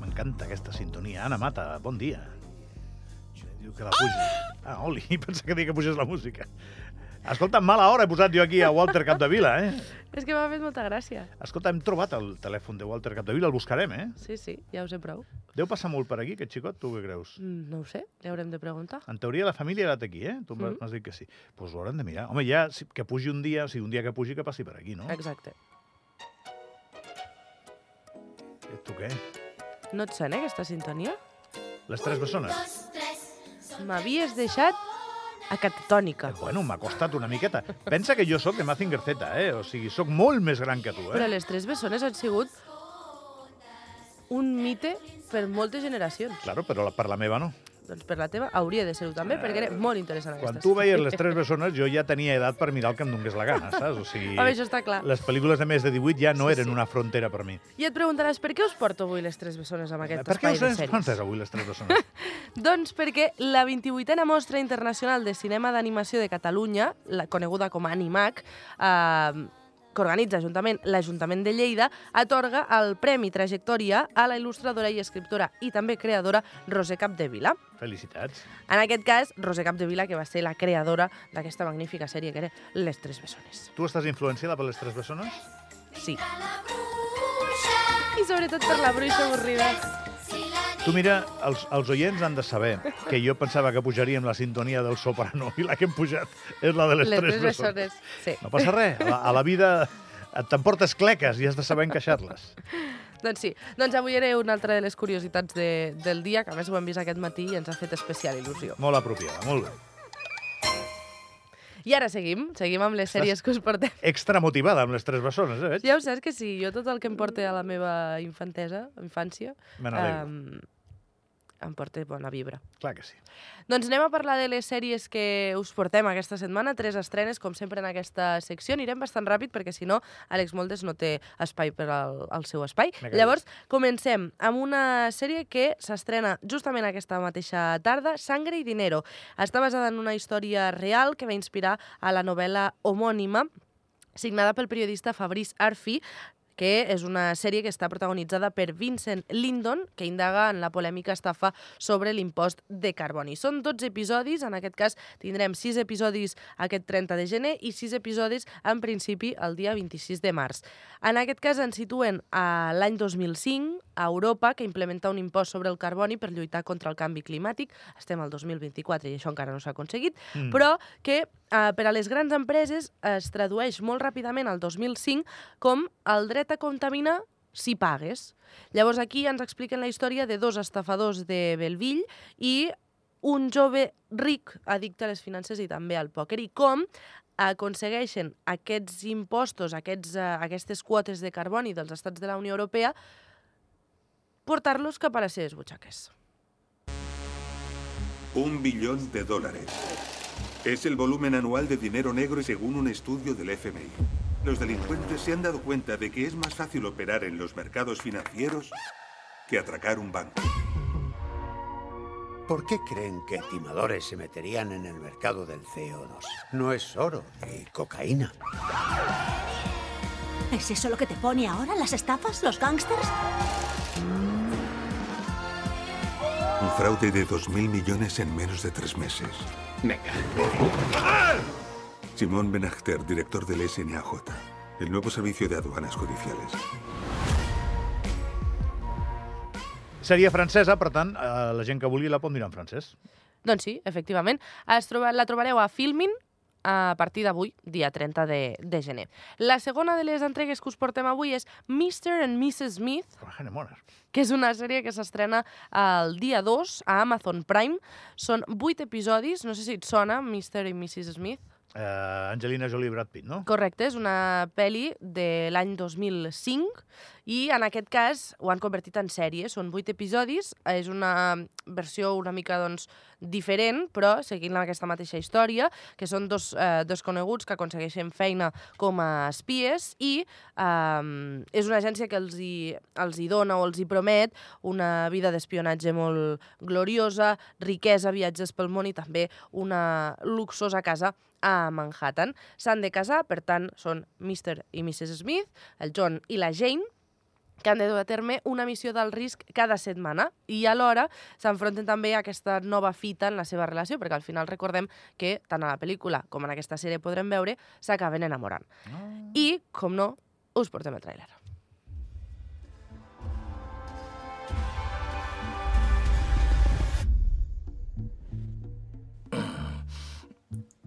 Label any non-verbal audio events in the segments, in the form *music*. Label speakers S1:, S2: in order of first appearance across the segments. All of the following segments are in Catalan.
S1: M'encanta aquesta sintonia. Anna Mata, bon dia. Diu que la pugi. Ah, Oli, *laughs* pensa que deia que pugés la música. Escolta, mala hora he posat jo aquí a Walter Capdevila, eh?
S2: És que m'ha fet molta gràcia.
S1: Escolta, hem trobat el telèfon de Walter Capdevila, el buscarem, eh?
S2: Sí, sí, ja ho sé prou.
S1: Deu passar molt per aquí, aquest xicot, tu què creus?
S2: Mm, No ho sé, li haurem de preguntar.
S1: En teoria la família ha anat aquí, eh? Tu m'has
S2: Mhm.
S1: dit que sí. Doncs pues ho hauran de mirar. Home, ja si- que pugi un dia, o sigui, un dia que pugi que passi per aquí, no?
S2: Exacte.
S1: Eh, Tu què?
S2: No et sona aquesta sintonia?
S1: Les tres bessones?
S2: M'havies deixat acatatònica.
S1: Bueno, m'ha costat una miqueta. Pensa que jo sóc de Mazinger Z, eh? O sigui, sóc molt més gran que tu, eh?
S2: Però les tres bessones han sigut un mite per moltes generacions.
S1: Claro, però la- per la meva no.
S2: Doncs per la teva hauria de ser-ho també, perquè era molt interessant
S1: Quan
S2: aquesta.
S1: tu veies les tres bessones, jo ja tenia edat per mirar el que em donés la gana, saps? O sigui,
S2: Home, això està clar.
S1: les pel·lícules de més de 18 ja no
S2: Sí,
S1: eren
S2: sí.
S1: una frontera per mi.
S2: I et preguntaràs per què us porto avui les tres bessones amb aquest
S1: per què
S2: espai
S1: us
S2: de
S1: has
S2: sèries?
S1: plantat avui les tres
S2: *laughs*
S1: bessones?
S2: Doncs perquè la 28a Mostra Internacional de Cinema d'Animació de Catalunya, la coneguda com a Animac, eh, que organitza juntament l'Ajuntament de Lleida, atorga el Premi Trajectòria a la il·lustradora i escriptora i també creadora Roser Capdevila.
S1: Felicitats.
S2: En aquest cas, Roser Capdevila, que va ser la creadora d'aquesta magnífica sèrie que era Les Tres Bessones.
S1: Tu estàs influenciada per les tres bessones?
S2: Sí. I sobretot per la bruixa avorrida.
S1: Tu mira, els, els oients han de saber que jo pensava que pujaríem la sintonia del soprano i la que hem pujat és la de les,
S2: Les
S1: tres,
S2: Tres
S1: bessones.
S2: Bessones. Sí.
S1: No passa res, a la, a la vida et- t'emportes cleques i has de saber encaixar-les.
S2: Doncs sí, doncs avui era una altra de les curiositats de, del dia, que a més ho hem vist aquest matí i ens ha fet especial il·lusió.
S1: Molt apropiada, molt bé.
S2: I ara seguim, seguim amb les sèries que us portem.
S1: Extra motivada amb les tres bessones, eh? veig?
S2: Ja ho saps que sí, jo tot el que em porta a la meva infantesa, infància,
S1: Me n'alegro,
S2: em, em porta bona vibra.
S1: clar que sí.
S2: Doncs anem a parlar de les sèries que us portem aquesta setmana, tres estrenes, com sempre en aquesta secció. Anirem bastant ràpid perquè, si no, Àlex Moldes no té espai per al, al seu espai.
S1: Me callo.
S2: Llavors, comencem amb una sèrie que s'estrena justament aquesta mateixa tarda, Sangre i Dinero. Està basada en una història real que va inspirar a la novel·la homònima signada pel periodista Fabrice Arfi, que és una sèrie que està protagonitzada per Vincent Lindon, que indaga en la polèmica estafa sobre l'impost de carboni. Són 12 episodis, en aquest cas tindrem 6 episodis aquest 30 de gener i 6 episodis en principi el dia 26 de març. En aquest cas ens situen a l'any 2005 a Europa, que implementa un impost sobre el carboni per lluitar contra el canvi climàtic. Estem al 2024 i això encara no s'ha aconseguit,
S1: Mm.
S2: però que eh, per a les grans empreses es tradueix molt ràpidament al 2005 com el dret a contaminar si pagues. Llavors aquí ens expliquen la història de dos estafadors de Belvill i un jove ric addicte a les finances i també al pòquer i com aconsegueixen aquests impostos, aquests, eh, aquestes quotes de carboni dels estats de la Unió Europea, portar-los cap a les seves butxaques.
S3: Un billón de dólares. Es el volumen anual de dinero negro según un estudio del FMI. Los delincuentes se han dado cuenta de que es más fácil operar en los mercados financieros que atracar un banco.
S4: ¿Por qué creen que timadores se meterían en el mercado del CO2? No es oro ni cocaína.
S5: ¿Es eso lo que te pone ahora? ¿Las estafas? ¿Los gángsters?
S3: Un fraude de 2.000 millones en menos de tres meses.
S6: Venga,
S3: Simón Benacter, director del SNAJ, el nuevo servicio de aduanas judiciales.
S1: Sèrie francesa, per tant, eh, la gent que vulgui la pot mirar en francès.
S2: Doncs sí, efectivament. Es troba, la trobareu a Filmin a partir d'avui, dia 30 de, de gener. La segona de les entregues que us portem avui és Mr. and Mrs. Smith,
S1: Trabajan en monas.
S2: que és una sèrie que s'estrena el dia 2 a Amazon Prime. Són 8 episodis, no sé si et sona, Mr. i Mrs. Smith.
S1: Eh, Angelina Jolie i Brad Pitt, no?
S2: Correcte, és una pel·li de l'any 2005 i en aquest cas ho han convertit en sèrie. Són vuit episodis, és una versió una mica doncs, diferent, però seguint amb aquesta mateixa història, que són dos, eh, dos coneguts que aconsegueixen feina com a espies i eh, és una agència que els hi, els hi dona o els hi promet una vida d'espionatge molt gloriosa, riquesa, viatges pel món i també una luxosa casa a Manhattan. S'han de casar, per tant, són Mr. i Mrs. Smith, el John i la Jane, que han de dur a terme una missió del risc cada setmana i alhora s'enfronten també a aquesta nova fita en la seva relació, perquè al final recordem que tant a la pel·lícula com en aquesta sèrie podrem veure s'acaben enamorant. I, com no, us portem el tràiler.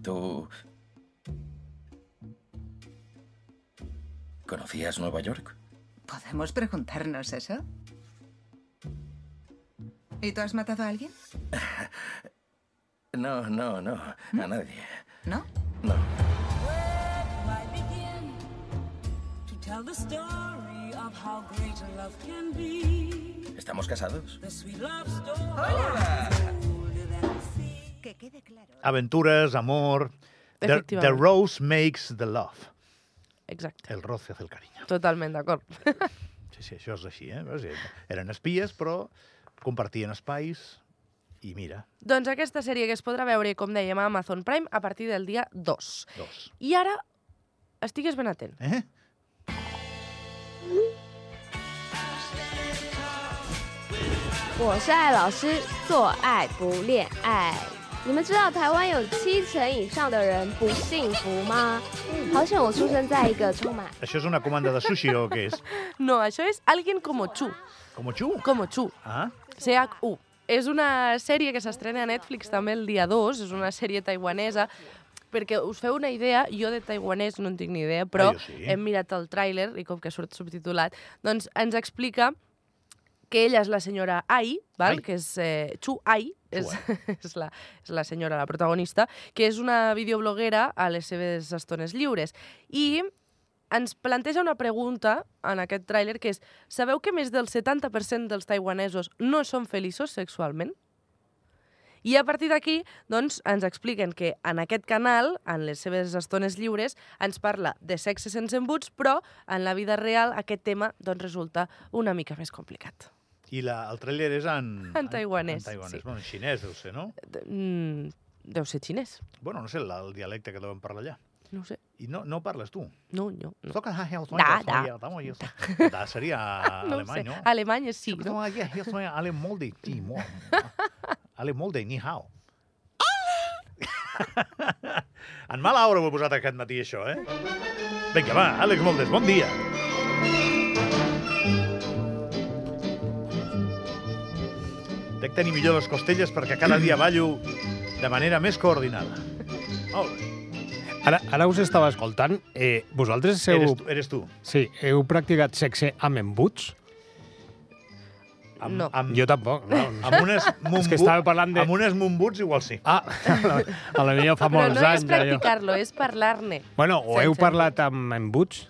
S6: ¿Tú conocías Nueva York?
S7: ¿Podemos preguntarnos eso? ¿Y tú has matado a alguien?
S6: *laughs* No, no, no, a nadie.
S7: ¿No?
S6: No. ¿Estamos casados?
S5: Que quede claro.
S1: Aventures, amor... The,
S2: Efectivament.
S1: the rose makes the love.
S2: Exacte.
S1: El roce hace el cariño.
S2: Totalment d'acord. *laughs*
S1: Sí, sí, això és així, eh? Veus? Eren espies, però compartien espais i mira,
S2: doncs aquesta sèrie que es podrà veure, com dèiem, a Amazon Prime a partir del dia 2.
S1: dos.
S2: I ara, estigues ben atent.
S1: Eh?
S8: 《我是爱老师，做爱不恋爱》。你们知道台湾有七成以上的人不幸福吗？好险我出生在一个充满……
S1: Això és una comanda de sushi o què és?
S2: No, això és Alguien como Chu.
S1: Como chu?
S2: Como Chu.
S1: Ah,
S2: CHU. És una sèrie que s'estrena a Netflix també el dia 2, és una sèrie taiwanesa, perquè us feu una idea, jo de taiwanès no en tinc ni idea, però
S1: Ah, jo sí.
S2: hem mirat el tràiler, i com que surt subtitulat, doncs ens explica que ella és la senyora Ai, val?
S1: Ai.
S2: que és eh, Chu Ai, és,
S1: Ai.
S2: és, la, és la senyora, la protagonista, que és una videobloguera a les seves estones lliures. I ens planteja una pregunta en aquest tràiler que és sabeu que més del 70% dels taiwanesos no són feliços sexualment? I a partir d'aquí, doncs, ens expliquen que en aquest canal, en les seves estones lliures, ens parla de sexe sense embuts, però en la vida real aquest tema doncs, resulta una mica més complicat.
S1: i la, el tràiler és en...
S2: En taiwanès,
S1: En taiwanès,
S2: sí.
S1: bueno, en xinès deu ser, no?
S2: De- Mm, deu ser xinès,
S1: Bueno, no sé, la, el dialecte que deuen parlar allà.
S2: no ho sé.
S1: I no, no parles tu.
S2: No, no, no.
S1: Toca ja, ja,
S2: Da,
S1: ja,
S2: da.
S1: ja, ja, Da seria
S2: no ho
S1: alemany,
S2: sé.
S1: no?
S2: Alemany és sí, no?
S1: No, ja, ja, ja, ale molde, ti, mo. Ale molde, ni hao. *laughs* en mala hora ho he posat aquest matí, això, eh? Vinga, va, Àlex Moldes, bon dia. Dec tenir millor les costelles perquè cada dia ballo de manera més coordinada. Molt bé.
S9: Ara, ara us estava escoltant. Eh, vosaltres heu,
S1: Eres, tu, eres tu.
S9: sí, heu practicat sexe amb embuts?
S1: Amb,
S2: No.
S1: Amb,
S9: Jo tampoc. No.
S1: amb
S9: *laughs*
S1: unes mumbuts,
S9: que estava parlant de-
S1: amb unes mumbuts igual sí.
S9: Ah, a
S1: *laughs*
S9: la millor fa
S2: Però
S9: molts
S2: no és
S9: anys. allò.
S2: practicar-lo, és parlar-ne.
S9: Bueno, o heu
S2: Sense
S9: parlat amb embuts?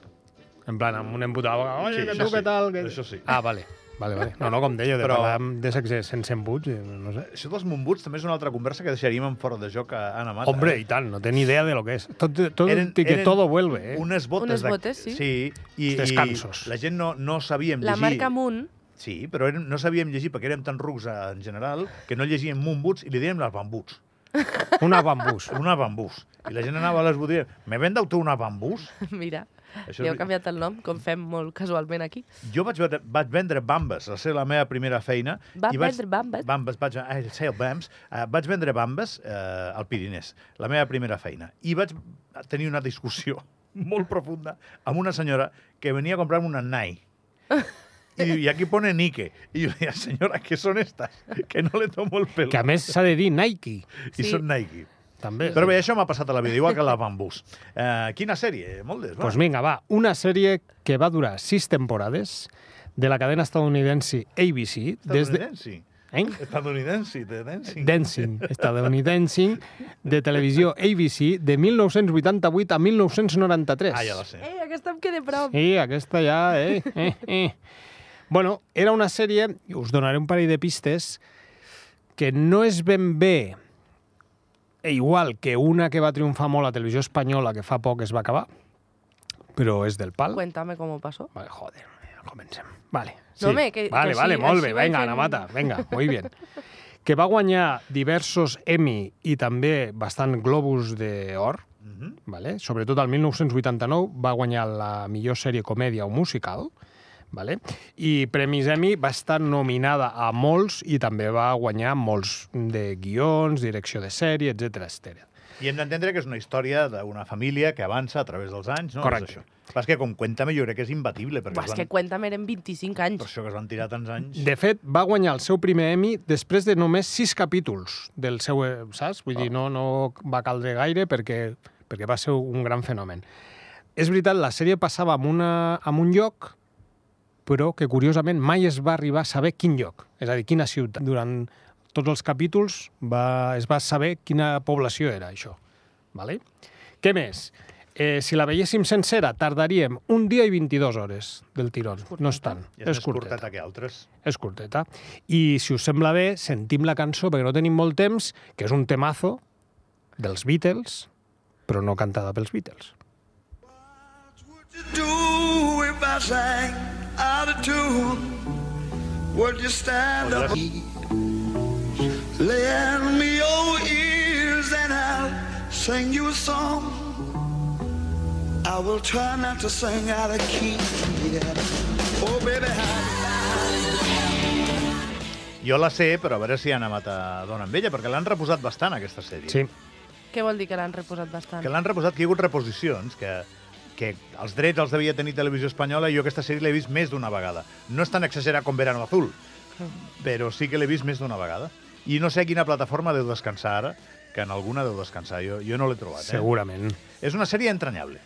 S9: En plan, amb un embut a la boca.
S1: Sí,
S9: Oye, que
S1: això
S9: tu
S1: sí,
S9: què tal? Que...
S1: això sí.
S9: Ah, vale. *laughs* Vale, vale. No, no, com deia, de
S1: Però-
S9: Però... parlar amb- de sexe sense embuts, eh, no sé.
S1: Això dels mumbuts també és una altra conversa que deixaríem en fora de joc a Ana Mata.
S9: Hombre,
S1: eh?
S9: i tant, no té ni idea de lo que és. Tot, tot,
S1: Eren-
S9: que
S1: eren
S9: todo vuelve, eh? *laughs*
S1: Unes botes.
S2: Unes
S1: de-
S2: botes, sí.
S1: Sí, i,
S9: Els descansos.
S1: i la gent no, no sabíem
S2: La
S1: llegir.
S2: marca Moon, *laughs*
S1: Sí, però érem, no sabíem llegir perquè érem tan rucs eh, en general que no llegíem mumbuts i li dèiem les bambuts.
S9: Una bambús.
S1: Una bambús. I la gent anava a les botigues, me vendeu tu una bambús?
S2: mira,
S1: Això
S2: li heu
S1: és-
S2: canviat el nom, com fem molt casualment aquí.
S1: Jo vaig, vendre- vaig vendre bambes, va ser la meva primera feina.
S2: Va
S1: i vaig,
S2: vendre bambes?
S1: Bambes, vaig, ah, I sell bams. Uh, vaig vendre bambes uh, al Pirinès, la meva primera feina. I vaig tenir una discussió *laughs* molt profunda amb una senyora que venia a comprar-me una nai. I, diu, i aquí pone Nike. I jo deia, senyora, què són estas? Que no le tomo el pelo.
S9: Que a més s'ha de dir Nike,
S1: I
S2: Sí.
S1: són Nike.
S9: també.
S1: Però bé, això m'ha passat a la vida, igual que la bambús. Uh, quina sèrie, Moldes?
S9: Pues Doncs vinga, va, una sèrie que va durar sis temporades de la cadena estadounidense ABC, des de...
S1: Estadounidense.
S9: Eh?
S1: Estadounidense, de dancing.
S9: Dancing, estadounidense, de televisió ABC, de 1988 a 1993.
S1: Ah, ja la sé.
S2: Ei, Eh, aquesta em queda prop.
S9: Sí, aquesta ja, eh? eh, eh. Bueno, era una sèrie, i us donaré un parell de pistes, que no és ben bé e igual que una que va triomfar molt a televisió espanyola que fa poc es va acabar, però és del pal.
S2: Cuéntame cómo pasó.
S9: Vale, joder, ja comencem. Vale,
S2: No, home, que-
S9: vale,
S2: que
S9: vale,
S2: així-
S9: molt
S2: així
S9: bé,
S2: vaig
S9: vinga,
S2: fent-
S9: Ana Mata, vinga, muy bien. *laughs* Que va guanyar diversos Emmy i també bastant Globus d'Or,
S1: Mhm.
S9: vale? sobretot el 1989 va guanyar la millor sèrie comèdia o musical, Vale? I Premis Emmy va estar nominada a molts i també va guanyar molts de guions, direcció de sèrie, etc etc.
S1: I hem d'entendre que és una història d'una família que avança a través dels anys, no?
S9: Correcte.
S1: És això. El que passa és que com Cuéntame jo crec que és imbatible, perquè
S2: Buah, és
S1: es
S2: que
S1: van,
S2: Cuéntame eren 25
S1: per
S2: anys.
S1: això que es van tirar tants anys.
S9: De fet, va guanyar el seu primer Emmy després de només sis capítols del seu... eh, Saps? Vull dir, no, no va caldre gaire perquè, perquè va ser un gran fenomen. És veritat, la sèrie passava en, una, en un lloc, però que curiosament mai es va arribar a saber quin lloc, és a dir, quina ciutat. Durant tots els capítols va, es va saber quina població era això. Vale? Què més? Eh, si la veiéssim sencera, tardaríem un dia i 22 hores del tirón. No és tant.
S1: I és
S9: És
S1: més
S9: curteta.
S1: curteta que altres.
S9: És curteta. I, si us sembla bé, sentim la cançó, perquè no tenim molt temps, que és un temazo dels Beatles, però no cantada pels Beatles.
S10: do if I sang out of tune? Would you stand up, lay on me your ears, and I'll sing you a song? I will try not to sing out of key. yeah. Oh, baby, how
S1: Jo la sé, però a veure si han amat a Dona amb ella, perquè l'han reposat bastant, aquesta sèrie.
S9: Sí.
S2: Què vol dir que l'han reposat bastant?
S1: Que l'han reposat, que hi ha hagut reposicions, que, que els drets els devia tenir Televisió Espanyola i jo aquesta sèrie l'he vist més d'una vegada. No és tan exagerada com Verano Azul, però sí que l'he vist més d'una vegada. I no sé a quina plataforma deu descansar ara, que en alguna deu descansar. Jo, jo no l'he trobat.
S9: Segurament.
S1: Eh? És una sèrie entranyable.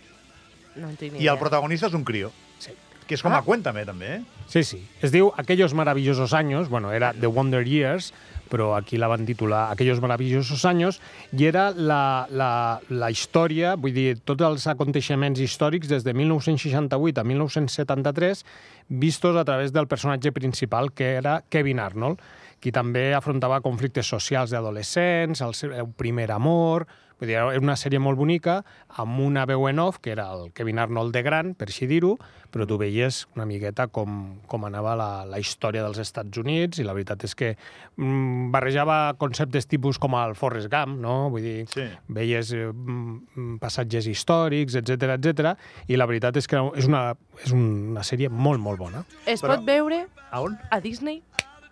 S2: No en tinc ni
S1: I el
S2: idea.
S1: protagonista és un crió,
S9: Sí.
S1: que és com ah. a Cuéntame, també. Eh?
S9: Sí, sí. Es diu Aquellos maravillosos años, bueno, era The Wonder Years, però aquí la van titular Aquellos maravillosos años, i era la, la, la història, vull dir, tots els aconteixements històrics des de 1968 a 1973, vistos a través del personatge principal, que era Kevin Arnold, qui també afrontava conflictes socials d'adolescents, el seu primer amor... Vull dir, era una sèrie molt bonica, amb una veu en off, que era el Kevin Arnold de gran, per així dir-ho, però tu veies una miqueta com, com anava la, la història dels Estats Units i la veritat és que mm, barrejava conceptes tipus com el Forrest Gump, no? Vull dir,
S1: Sí.
S9: veies eh, mm, mm, passatges històrics, etc etc. i la veritat és que és una, és una sèrie molt, molt bona.
S2: Es
S1: Però-
S2: pot veure
S1: A on?
S2: a Disney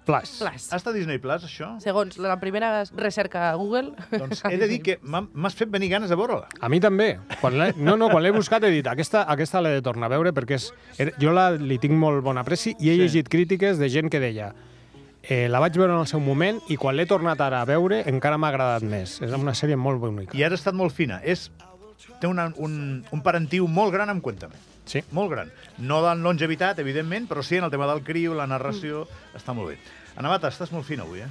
S9: Plus.
S2: Plus.
S1: Està a Disney Plus, això?
S2: Segons la primera recerca *laughs* a Google...
S1: Doncs he de dir que m'ha- m'has fet venir ganes de veure-la.
S9: A mi també. Quan l'he- no, no, quan l'he buscat he dit aquesta, aquesta l'he de tornar a veure perquè és, era- jo la, li tinc molt bon apreci i
S1: Sí.
S9: he sí. llegit crítiques de gent que deia eh, la vaig veure en el seu moment i quan l'he tornat ara a veure encara m'ha agradat més. És una sèrie molt bonica.
S1: I ara ha estat molt fina. És, té una, un, un parentiu molt gran amb Cuéntame.
S9: Sí.
S1: Molt gran. No en longevitat, evidentment, però sí en el tema del criu, la narració... Mm. Està molt bé. Anamata, estàs molt fina avui, eh?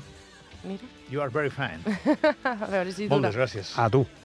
S2: Mira, *laughs*
S1: You are very fine.
S2: a veure si dura.
S1: Moltes gràcies.
S9: A tu.